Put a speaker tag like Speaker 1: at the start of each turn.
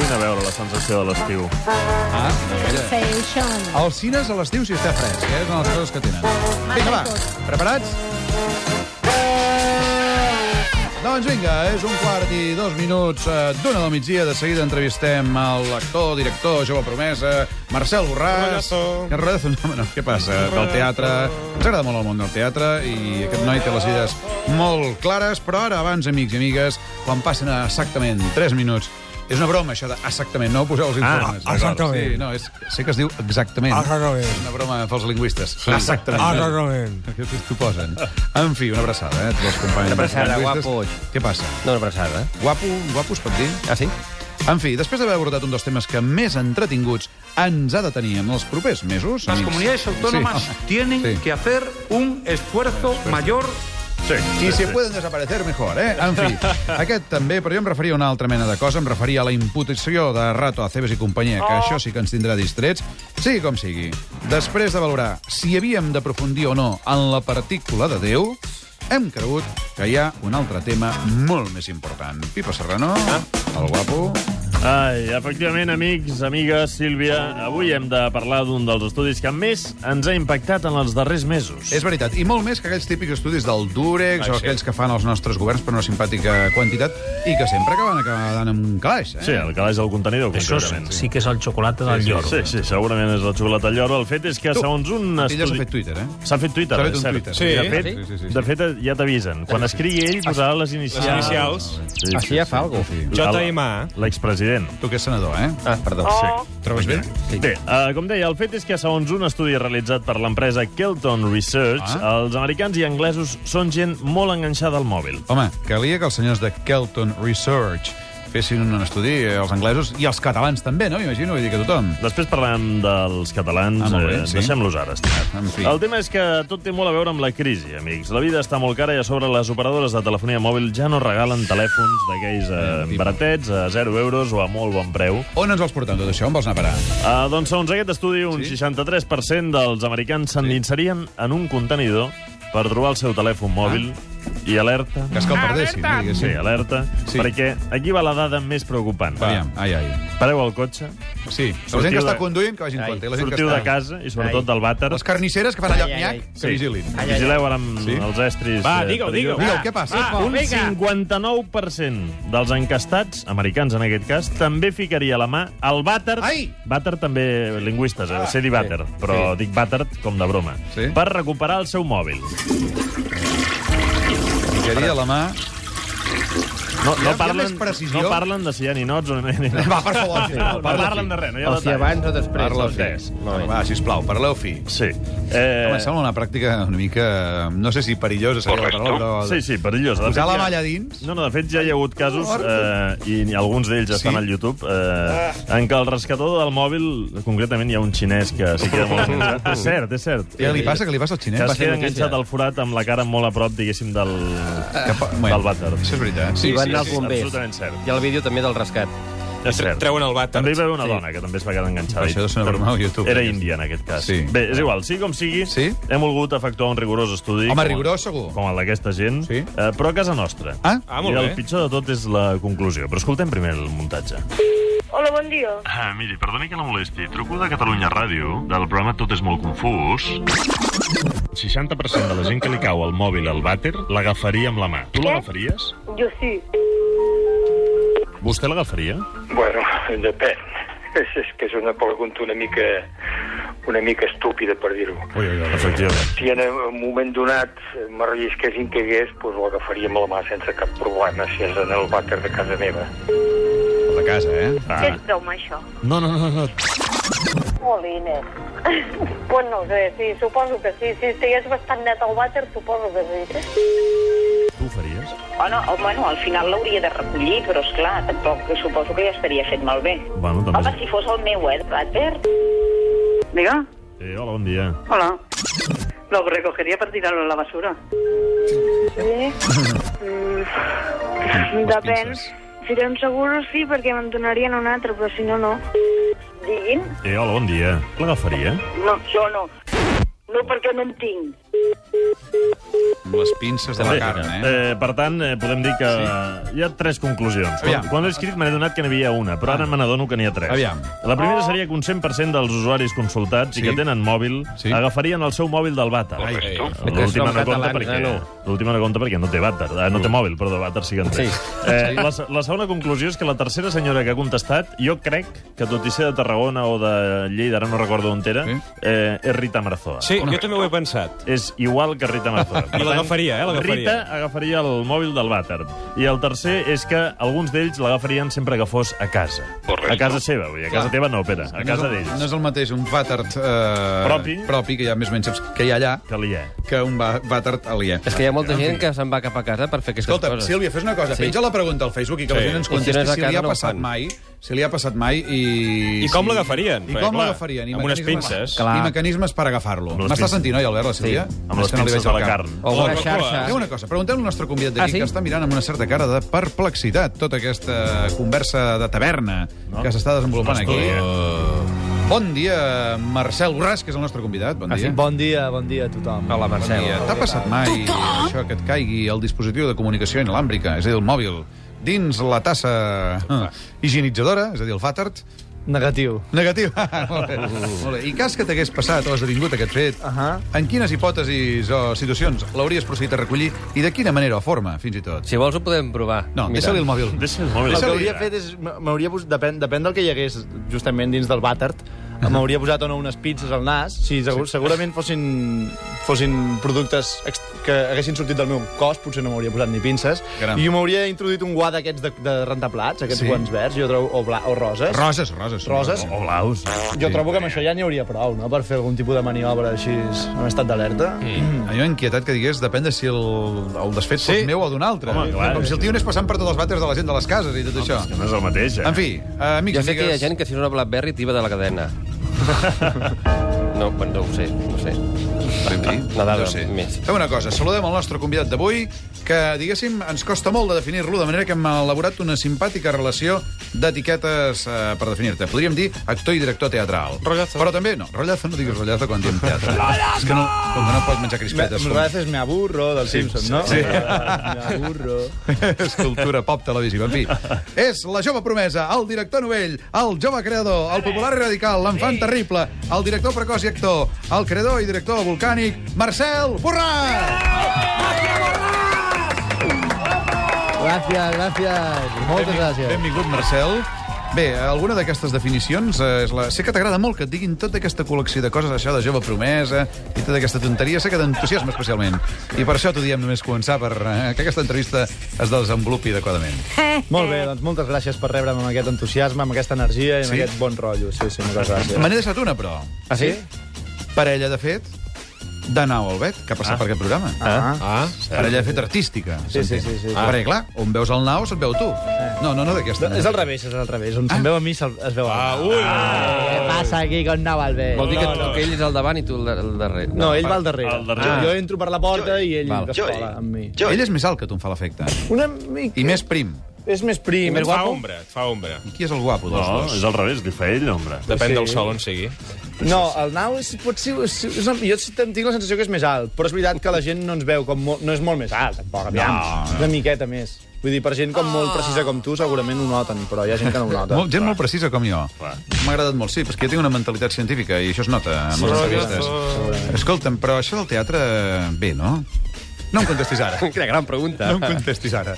Speaker 1: vine a veure la sensació de l'estiu.
Speaker 2: Ah,
Speaker 3: Sensation.
Speaker 2: els cines a l'estiu si està fresc, eh? És una de les coses que tenen. Vinga, va, preparats? Doncs vinga, és un quart i dos minuts eh, d'una del migdia. De seguida entrevistem l'actor, director, jove promesa, Marcel Borràs.
Speaker 4: Rollazo.
Speaker 2: Que Rollazo, no, no, què passa? Del teatre. Ens agrada molt el món del teatre i aquest noi té les idees molt clares, però ara, abans, amics i amigues, quan passen a exactament 3 minuts, és una broma, això de exactament, no poseu els informes.
Speaker 4: ah, exactament.
Speaker 2: Sí, no, és, sé que es diu exactament.
Speaker 4: Exactament.
Speaker 2: És una broma pels lingüistes. Sí.
Speaker 4: Exactament.
Speaker 2: Que t'ho posen. En fi, una abraçada, eh, a tots els companys.
Speaker 5: Una abraçada,
Speaker 2: lingüistes.
Speaker 5: guapos.
Speaker 2: Què passa?
Speaker 5: No, una abraçada.
Speaker 2: Guapo, guapo es pot dir?
Speaker 5: Ah, sí?
Speaker 2: En fi, després d'haver abordat un dels temes que més entretinguts ens ha de tenir en els propers mesos...
Speaker 6: Las
Speaker 2: amics.
Speaker 6: comunidades autónomas
Speaker 2: Sí.
Speaker 6: tienen
Speaker 2: Sí.
Speaker 6: que hacer un esfuerzo mayor.
Speaker 1: Sí,
Speaker 2: I si pueden desaparecer, mejor, eh? En fi, aquest també, però jo em referia a una altra mena de cosa, em referia a la imputació de Rato a Cebes i companyia,
Speaker 1: Oh.
Speaker 2: que això sí que ens tindrà distrets, sigui com sigui. Després de valorar si havíem d'aprofundir o no en la partícula de Déu, hem cregut que hi ha un altre tema molt més important. Pipa Serrano,
Speaker 1: Ah.
Speaker 2: el guapo...
Speaker 1: Ai, efectivament, amics, amigues, Sílvia, avui hem de parlar d'un dels estudis que més ens ha impactat en els darrers mesos.
Speaker 2: És veritat, i molt més que aquells típics estudis del Durex
Speaker 1: Ai,
Speaker 2: o
Speaker 1: Ah, sí.
Speaker 2: aquells que fan els nostres governs per una simpàtica quantitat i que sempre acaben acabant amb un calaix, eh?
Speaker 1: Sí, el calaix del contenidor,
Speaker 7: Això
Speaker 1: concretament.
Speaker 7: Doncs sí que és el xocolata del
Speaker 1: sí,
Speaker 7: lloro.
Speaker 1: sí, sí, segurament és la xocolata al lloro. El fet és que,
Speaker 2: Tu,
Speaker 1: segons un
Speaker 2: Ella s'ha
Speaker 1: estudi...
Speaker 2: fet Twitter, eh?
Speaker 1: S'ha fet Twitter,
Speaker 2: S'ha fet
Speaker 1: és
Speaker 2: un
Speaker 1: cert.
Speaker 2: Twitter.
Speaker 1: De
Speaker 4: Sí,
Speaker 1: fet,
Speaker 2: sí, sí, sí, sí.
Speaker 1: de fet ja t'avisen. Quan escrigui ell, posarà les inicials.
Speaker 4: Les inicials.
Speaker 1: Sí,
Speaker 5: Així ja fa algo.
Speaker 1: L-
Speaker 4: J.M.A..
Speaker 1: L'expresident.
Speaker 2: Tu que és senador, eh?
Speaker 5: Ah, perdó.
Speaker 1: Oh.
Speaker 2: Trobes bé?
Speaker 1: Bé, uh, com deia, el fet és que segons un estudi realitzat per l'empresa Kelton Research,
Speaker 2: Ah.
Speaker 1: els americans i anglesos són gent molt enganxada al mòbil.
Speaker 2: Home, calia que els senyors de Kelton Research fessin un estudi, eh, els anglesos i els catalans també, no? Imagino, vull dir que tothom.
Speaker 1: Després parlem dels catalans,
Speaker 2: Ah, molt bé,
Speaker 1: eh,
Speaker 2: sí. Ah,
Speaker 1: deixem-los ara, estimat.
Speaker 2: En fi.
Speaker 1: El tema és que tot té molt a veure amb la crisi, amics. La vida està molt cara i a sobre les operadores de telefonia mòbil ja no regalen telèfons d'aquells eh, baratets a 0 euros o a molt bon preu.
Speaker 2: On ens vols portar amb tot això? On vols anar a parar?
Speaker 1: Uh, doncs, segons aquest estudi, un
Speaker 2: Sí?
Speaker 1: 63% dels americans s'endinsarien en un contenidor per trobar el seu telèfon mòbil i alerta.
Speaker 2: Que és que el perdessin, no?
Speaker 1: Sí,
Speaker 2: Diguéssim.
Speaker 1: alerta,
Speaker 2: Ah. Sí.
Speaker 1: sí. perquè aquí va la dada més preocupant.
Speaker 2: Aviam, ai, ai.
Speaker 1: Pareu al cotxe,
Speaker 2: Sí, la gent
Speaker 1: Sortiu
Speaker 2: que està
Speaker 1: de-
Speaker 2: conduint, que vagin en compte. i La gent que
Speaker 1: sortiu de
Speaker 2: està...
Speaker 1: casa i sobretot
Speaker 5: Ai.
Speaker 1: del vàter.
Speaker 2: Les carnisseres que fan allò,
Speaker 5: Ai, ai, ai.
Speaker 2: nyac, que vigilin.
Speaker 5: Ai, ai, ai.
Speaker 1: Vigileu ara amb
Speaker 2: Sí.
Speaker 1: els estris.
Speaker 4: Va,
Speaker 1: eh,
Speaker 4: digue-ho,
Speaker 1: perillós.
Speaker 4: digue-ho.
Speaker 2: Digue'm, què passa?
Speaker 5: Va,
Speaker 1: Un 59% dels encastats, americans en aquest cas, també ficaria la mà al vàter...
Speaker 2: Ai! Ah,
Speaker 1: Vàter també, lingüistes, eh? sé dir vàter, però dic vàter com de broma.
Speaker 2: Sí.
Speaker 1: Per recuperar el seu mòbil.
Speaker 2: Ficaria la mà...
Speaker 1: No,
Speaker 2: Hi ha- hi
Speaker 1: no,
Speaker 2: ha
Speaker 1: parlen,
Speaker 2: més precisió?
Speaker 1: no parlen de si hi ha ninots o no hi ha ninots.
Speaker 2: Va, per favor, sí.
Speaker 1: No
Speaker 2: Parla
Speaker 1: parlen
Speaker 2: fi.
Speaker 1: de res, no hi ha
Speaker 5: O si
Speaker 1: detalls.
Speaker 5: abans o després.
Speaker 2: Parla
Speaker 5: dels
Speaker 2: fi.
Speaker 5: tres.
Speaker 2: No, va, sisplau, parleu fi.
Speaker 1: Sí. Eh,
Speaker 2: Home, sembla una pràctica una mica... No sé si perillosa seria la paraula, però...
Speaker 1: Sí, sí, perillosa. De
Speaker 2: Posar
Speaker 1: fet,
Speaker 2: la
Speaker 1: ja-
Speaker 2: malla dins?
Speaker 1: No, no, de fet ja hi ha hagut casos, eh, i alguns d'ells estan
Speaker 2: Sí? Ah.
Speaker 1: al YouTube, eh, en què el rescatador del mòbil, concretament hi ha un xinès que s'hi queda molt enganxat. és cert, és cert.
Speaker 2: Què li passa? Què li passa al
Speaker 1: Que
Speaker 2: xinès?
Speaker 1: es queda enganxat al forat amb la cara molt a prop, diguéssim, del,
Speaker 2: Que pa-
Speaker 1: del vàter.
Speaker 2: Això és veritat.
Speaker 5: I van anar
Speaker 4: sí, sí,
Speaker 5: als bombers.
Speaker 1: absolutament cert.
Speaker 5: I el vídeo també del rescat.
Speaker 1: És cert.
Speaker 4: Treuen el vàter.
Speaker 1: També hi va haver una dona que també es va quedar enganxada.
Speaker 2: Això deu ser una broma al YouTube. eh?
Speaker 1: Era índia, en aquest cas.
Speaker 2: Sí.
Speaker 1: Bé, és igual, sigui com sigui,
Speaker 2: Sí?
Speaker 1: hem volgut efectuar un rigorós estudi.
Speaker 2: Home,
Speaker 1: com el-
Speaker 2: rigorós, segur.
Speaker 1: Com el d'aquesta gent,
Speaker 2: Sí.
Speaker 1: eh, però a casa nostra.
Speaker 2: Ah?
Speaker 4: Ah, molt
Speaker 1: I el
Speaker 4: bé.
Speaker 1: pitjor de tot és la conclusió. Però escoltem primer el muntatge.
Speaker 8: Hola, bon dia.
Speaker 1: Ah, miri, perdoni que la molesti. Truco de Catalunya Ràdio, del programa Tot és molt confús. El 60% de la gent que li cau el mòbil al vàter l'agafaria amb la mà. Tu l'agafaries?
Speaker 8: Jo sí.
Speaker 1: Vostè l'agafaria?
Speaker 9: Bueno, depèn. És, és que és una pregunta una mica, una mica estúpida, per dir-ho.
Speaker 1: Ui, ui, ui. Efectivament.
Speaker 9: Si en un moment donat m'arrisquessin que hi hagués, doncs l'agafaria amb la mà sense cap problema, si és en el vàter de casa meva.
Speaker 2: De casa, eh?
Speaker 8: Què
Speaker 1: Ah.
Speaker 8: és broma, això?
Speaker 1: No, no, no, no.
Speaker 8: Molines. pues no ho sé, sí, suposo que sí. Si estigués bastant net al vàter, suposo que sí.
Speaker 1: Tu ho faries?
Speaker 10: Bueno, oh, bueno, al final l'hauria de recollir, però és clar, tampoc suposo que ja estaria fet malbé.
Speaker 1: Bueno, també...
Speaker 10: Home, si fos el meu, eh, vàter. Diga,
Speaker 1: Eh, hola, bon dia.
Speaker 10: hola. Lo recogería para tirarlo a la basura.
Speaker 8: Sí? Mm,
Speaker 2: Doncs
Speaker 8: depèn. Serem seguros, sí, perquè me'n donarien un altre, però si no, no.
Speaker 10: Diguin?
Speaker 1: Eh, hola, bon dia. L'agafaria?
Speaker 10: No, jo no. No perquè no en tinc.
Speaker 2: amb les pinces de la carn, eh?
Speaker 1: eh, per tant, eh, podem dir que sí. hi ha tres conclusions. Quan,
Speaker 2: Aviam.
Speaker 1: quan l'he escrit m'he donat que n'hi havia una, però ara me n'adono que n'hi ha tres.
Speaker 2: Aviam.
Speaker 1: La primera seria que un 100% dels usuaris consultats
Speaker 2: Sí.
Speaker 1: i que tenen mòbil
Speaker 2: Sí.
Speaker 1: sí. agafarien el seu mòbil del vàter.
Speaker 2: Ai, ai,
Speaker 1: L'última
Speaker 3: Som
Speaker 1: no compta
Speaker 3: catalans,
Speaker 1: perquè...
Speaker 3: eh, no?
Speaker 1: L'última no compta perquè no té vàter. Ah, no té mòbil, perdó, vàter sí que en té.
Speaker 3: Sí.
Speaker 1: Eh, la, se- la segona conclusió és que la tercera senyora que ha contestat, jo crec que tot i ser de Tarragona o de Lleida, ara no recordo on era,
Speaker 2: Sí.
Speaker 1: eh, és Rita Marzoa.
Speaker 3: Sí, jo també ho he pensat.
Speaker 1: És igual que Rita Marzoa. Per tant,
Speaker 3: I l'agafaria, eh, l'agafaria.
Speaker 1: Rita agafaria el mòbil del vàter. I el tercer és que alguns d'ells l'agafarien sempre que fos a casa.
Speaker 9: Correcte.
Speaker 1: A casa seva, vull dir, a casa
Speaker 2: Clar.
Speaker 1: teva no, Pere, a casa
Speaker 2: no és, el-
Speaker 1: d'ells.
Speaker 2: no és el mateix un vàter eh,
Speaker 1: Propi.
Speaker 2: propi, que ja més o menys saps que hi ha allà,
Speaker 1: Que li és.
Speaker 2: que un va- vàter aliè.
Speaker 3: És que hi ha molta gent que se'n va cap a casa per fer aquestes
Speaker 2: Escolta,
Speaker 3: coses.
Speaker 2: Sílvia, fes una cosa,
Speaker 3: Sí.
Speaker 2: sí. penja la pregunta al Facebook i que sí. la gent ens
Speaker 3: I si no
Speaker 2: contesti
Speaker 3: és a
Speaker 2: si,
Speaker 3: casa,
Speaker 2: li ha
Speaker 3: no ho
Speaker 2: passat
Speaker 3: fan.
Speaker 2: mai, si li ha passat mai i...
Speaker 3: I com
Speaker 2: si-
Speaker 3: l'agafarien?
Speaker 2: I
Speaker 3: Perquè,
Speaker 2: com
Speaker 3: clar,
Speaker 2: l'agafarien? I
Speaker 3: amb unes
Speaker 2: mecanismes-
Speaker 3: pinces.
Speaker 2: I
Speaker 3: Clar.
Speaker 2: mecanismes per agafarlo.
Speaker 1: les
Speaker 2: M'està
Speaker 1: pinces.
Speaker 2: sentint, oi, Albert, la Sílvia?
Speaker 1: Sí, amb
Speaker 2: És
Speaker 1: les
Speaker 2: que no li
Speaker 1: pinces
Speaker 2: veig el
Speaker 1: de la
Speaker 2: cap.
Speaker 1: carn.
Speaker 3: O una
Speaker 2: Feu
Speaker 3: xarxa.
Speaker 2: una cosa, preguntem al nostre convidat d'aquí,
Speaker 3: Ah, sí?
Speaker 2: que està mirant amb una certa cara de perplexitat tota aquesta conversa de taverna
Speaker 1: No.
Speaker 2: que s'està desenvolupant
Speaker 1: És un
Speaker 2: aquí.
Speaker 1: estudi,
Speaker 2: Bon dia, Marcel Borràs, que és el nostre convidat.
Speaker 3: Ah,
Speaker 2: Bon dia.
Speaker 4: Bon dia, bon dia a tothom.
Speaker 2: Hola, Marcel. Bon dia. T'ha passat mai això que et caigui el dispositiu de comunicació inalàmbrica, és a dir, el mòbil, dins la tassa eh, higienitzadora, és a dir, el vàtert,
Speaker 4: Negatiu.
Speaker 2: Negatiu. Molt bé. Molt bé. I cas que t'hagués passat o esdevingut aquest fet, uh
Speaker 4: Uh. Ahà.
Speaker 2: -huh. en quines hipòtesis o situacions l'hauries procedit a recollir i de quina manera o forma, fins i tot?
Speaker 3: Si vols ho podem provar.
Speaker 2: No,
Speaker 3: Mira.
Speaker 2: deixa-li el mòbil.
Speaker 1: Deixa el mòbil.
Speaker 4: El que
Speaker 2: Deixa-li-
Speaker 4: hauria fet és... M'hauria posat... Depèn, depèn del que hi hagués justament dins del vàter. Ah, M'hauria posat o no unes pizzas al nas. Si segur, segurament fossin, fossin productes ex- que haguessin sortit del meu cos, potser no m'hauria posat ni pinces.
Speaker 2: Caram.
Speaker 4: I m'hauria introduït un guà d'aquests de, de rentaplats, aquests
Speaker 2: Sí.
Speaker 4: sí. guants verds, jo trobo, o, bla, o roses.
Speaker 2: Roses, roses.
Speaker 4: Roses.
Speaker 1: O Oh, blaus.
Speaker 4: Jo trobo que amb això ja n'hi hauria prou, no?, per fer algun tipus de maniobra així en estat d'alerta. Mm.
Speaker 2: A mi m'ha inquietat que digués, depèn de si el, el desfet sí. fos meu o d'un altre.
Speaker 1: Home, clar.
Speaker 2: Com si el tio anés passant per tots els vàters de la gent de les cases i tot això.
Speaker 1: Que no és el mateix, eh?
Speaker 2: En fi, eh, amics i
Speaker 3: Jo sé
Speaker 2: amigues...
Speaker 3: que hi ha gent que si no una Blackberry tiba de la cadena. No, bueno, no ho sé, no ho sé.
Speaker 2: En fi,
Speaker 3: Nadal,
Speaker 2: no sé.
Speaker 3: més.
Speaker 2: Fem una cosa, saludem el nostre convidat d'avui, que, diguéssim, ens costa molt de definir-lo, de manera que hem elaborat una simpàtica relació d'etiquetes eh, per definir-te. Podríem dir actor i director teatral.
Speaker 3: Rotllazo.
Speaker 2: Però també, no, rotllazo no diguis rotllazo quan diem teatre. És que no, com que no pots menjar
Speaker 4: Me,
Speaker 2: crispetes. com-
Speaker 4: Roses me aburro, del sí, Simpson, no?
Speaker 2: sí.
Speaker 4: Me aburro.
Speaker 2: és cultura pop televisiva, en fi. És la jove promesa, el director novell, el jove creador, el popular i radical, l'enfant terrible, el director precoç i actor, el creador i director volcànic, Marcel Borràs!
Speaker 4: Gràcies, gràcies. Moltes gràcies.
Speaker 2: Benvingut, Marcel. Bé, alguna d'aquestes definicions eh, és la... Sé que t'agrada molt que et diguin tota aquesta col·lecció de coses, això de jove promesa i tota aquesta tonteria, sé que t'entusiasma especialment. I per això t'ho diem només començar, per eh, que aquesta entrevista es desenvolupi adequadament.
Speaker 4: Molt bé, doncs moltes gràcies per rebre'm amb aquest entusiasme, amb aquesta energia i amb
Speaker 2: Sí?
Speaker 4: aquest bon rotllo. Sí, sí, moltes gràcies.
Speaker 2: Me n'he deixat una, però.
Speaker 3: Ah, sí?
Speaker 2: Parella, de fet, d'Anna Olbet, que ha passat ah. per aquest programa.
Speaker 4: Ah,
Speaker 3: Ah.
Speaker 2: Parella, de fet, artística.
Speaker 4: Sí,
Speaker 2: s'entén.
Speaker 4: sí, sí, sí, sí.
Speaker 2: Perquè, clar, on veus el nau, se't veu tu. No, no, no d'aquesta.
Speaker 4: és al revés, és al revés. On se'n veu a mi, se'l- es veu a mi.
Speaker 3: Ah, Ui!
Speaker 4: Què passa aquí con Nau Albert?
Speaker 3: Vol dir que, tu, que ell és al davant i tu al al darrere.
Speaker 4: No, ell va al darrere.
Speaker 1: Al darrere.
Speaker 4: Jo, jo entro per la porta i ell d'escola amb mi.
Speaker 2: Jo... Ell és més alt que tu em fa l'efecte.
Speaker 4: Una mica...
Speaker 2: I més prim.
Speaker 4: És més prim.
Speaker 5: Més
Speaker 4: Més
Speaker 5: fa ombra, et fa ombra.
Speaker 2: I qui és el guapo dels
Speaker 1: No,
Speaker 2: dos?
Speaker 1: és al revés, li fa ell, l'ombra.
Speaker 5: Depèn sí.
Speaker 4: Sí.
Speaker 5: del sol on sigui.
Speaker 4: No, el Nau és, pot ser... És, és, una- jo tinc la sensació que és més alt, però és veritat que la gent no ens veu com... Molt, no és molt més alt, tampoc, aviam.
Speaker 2: No, no.
Speaker 4: Una miqueta més. Vull dir, per gent com molt precisa com tu, segurament ho noten, però hi ha gent que no ho nota.
Speaker 2: Molt, gent molt precisa com jo.
Speaker 1: Clar.
Speaker 2: M'ha agradat molt, sí, perquè jo tinc una mentalitat científica i això es nota en les entrevistes. Escolta'm, però això del teatre, bé, no? No em contestis ara.
Speaker 3: Quina gran pregunta.
Speaker 2: No em contestis ara.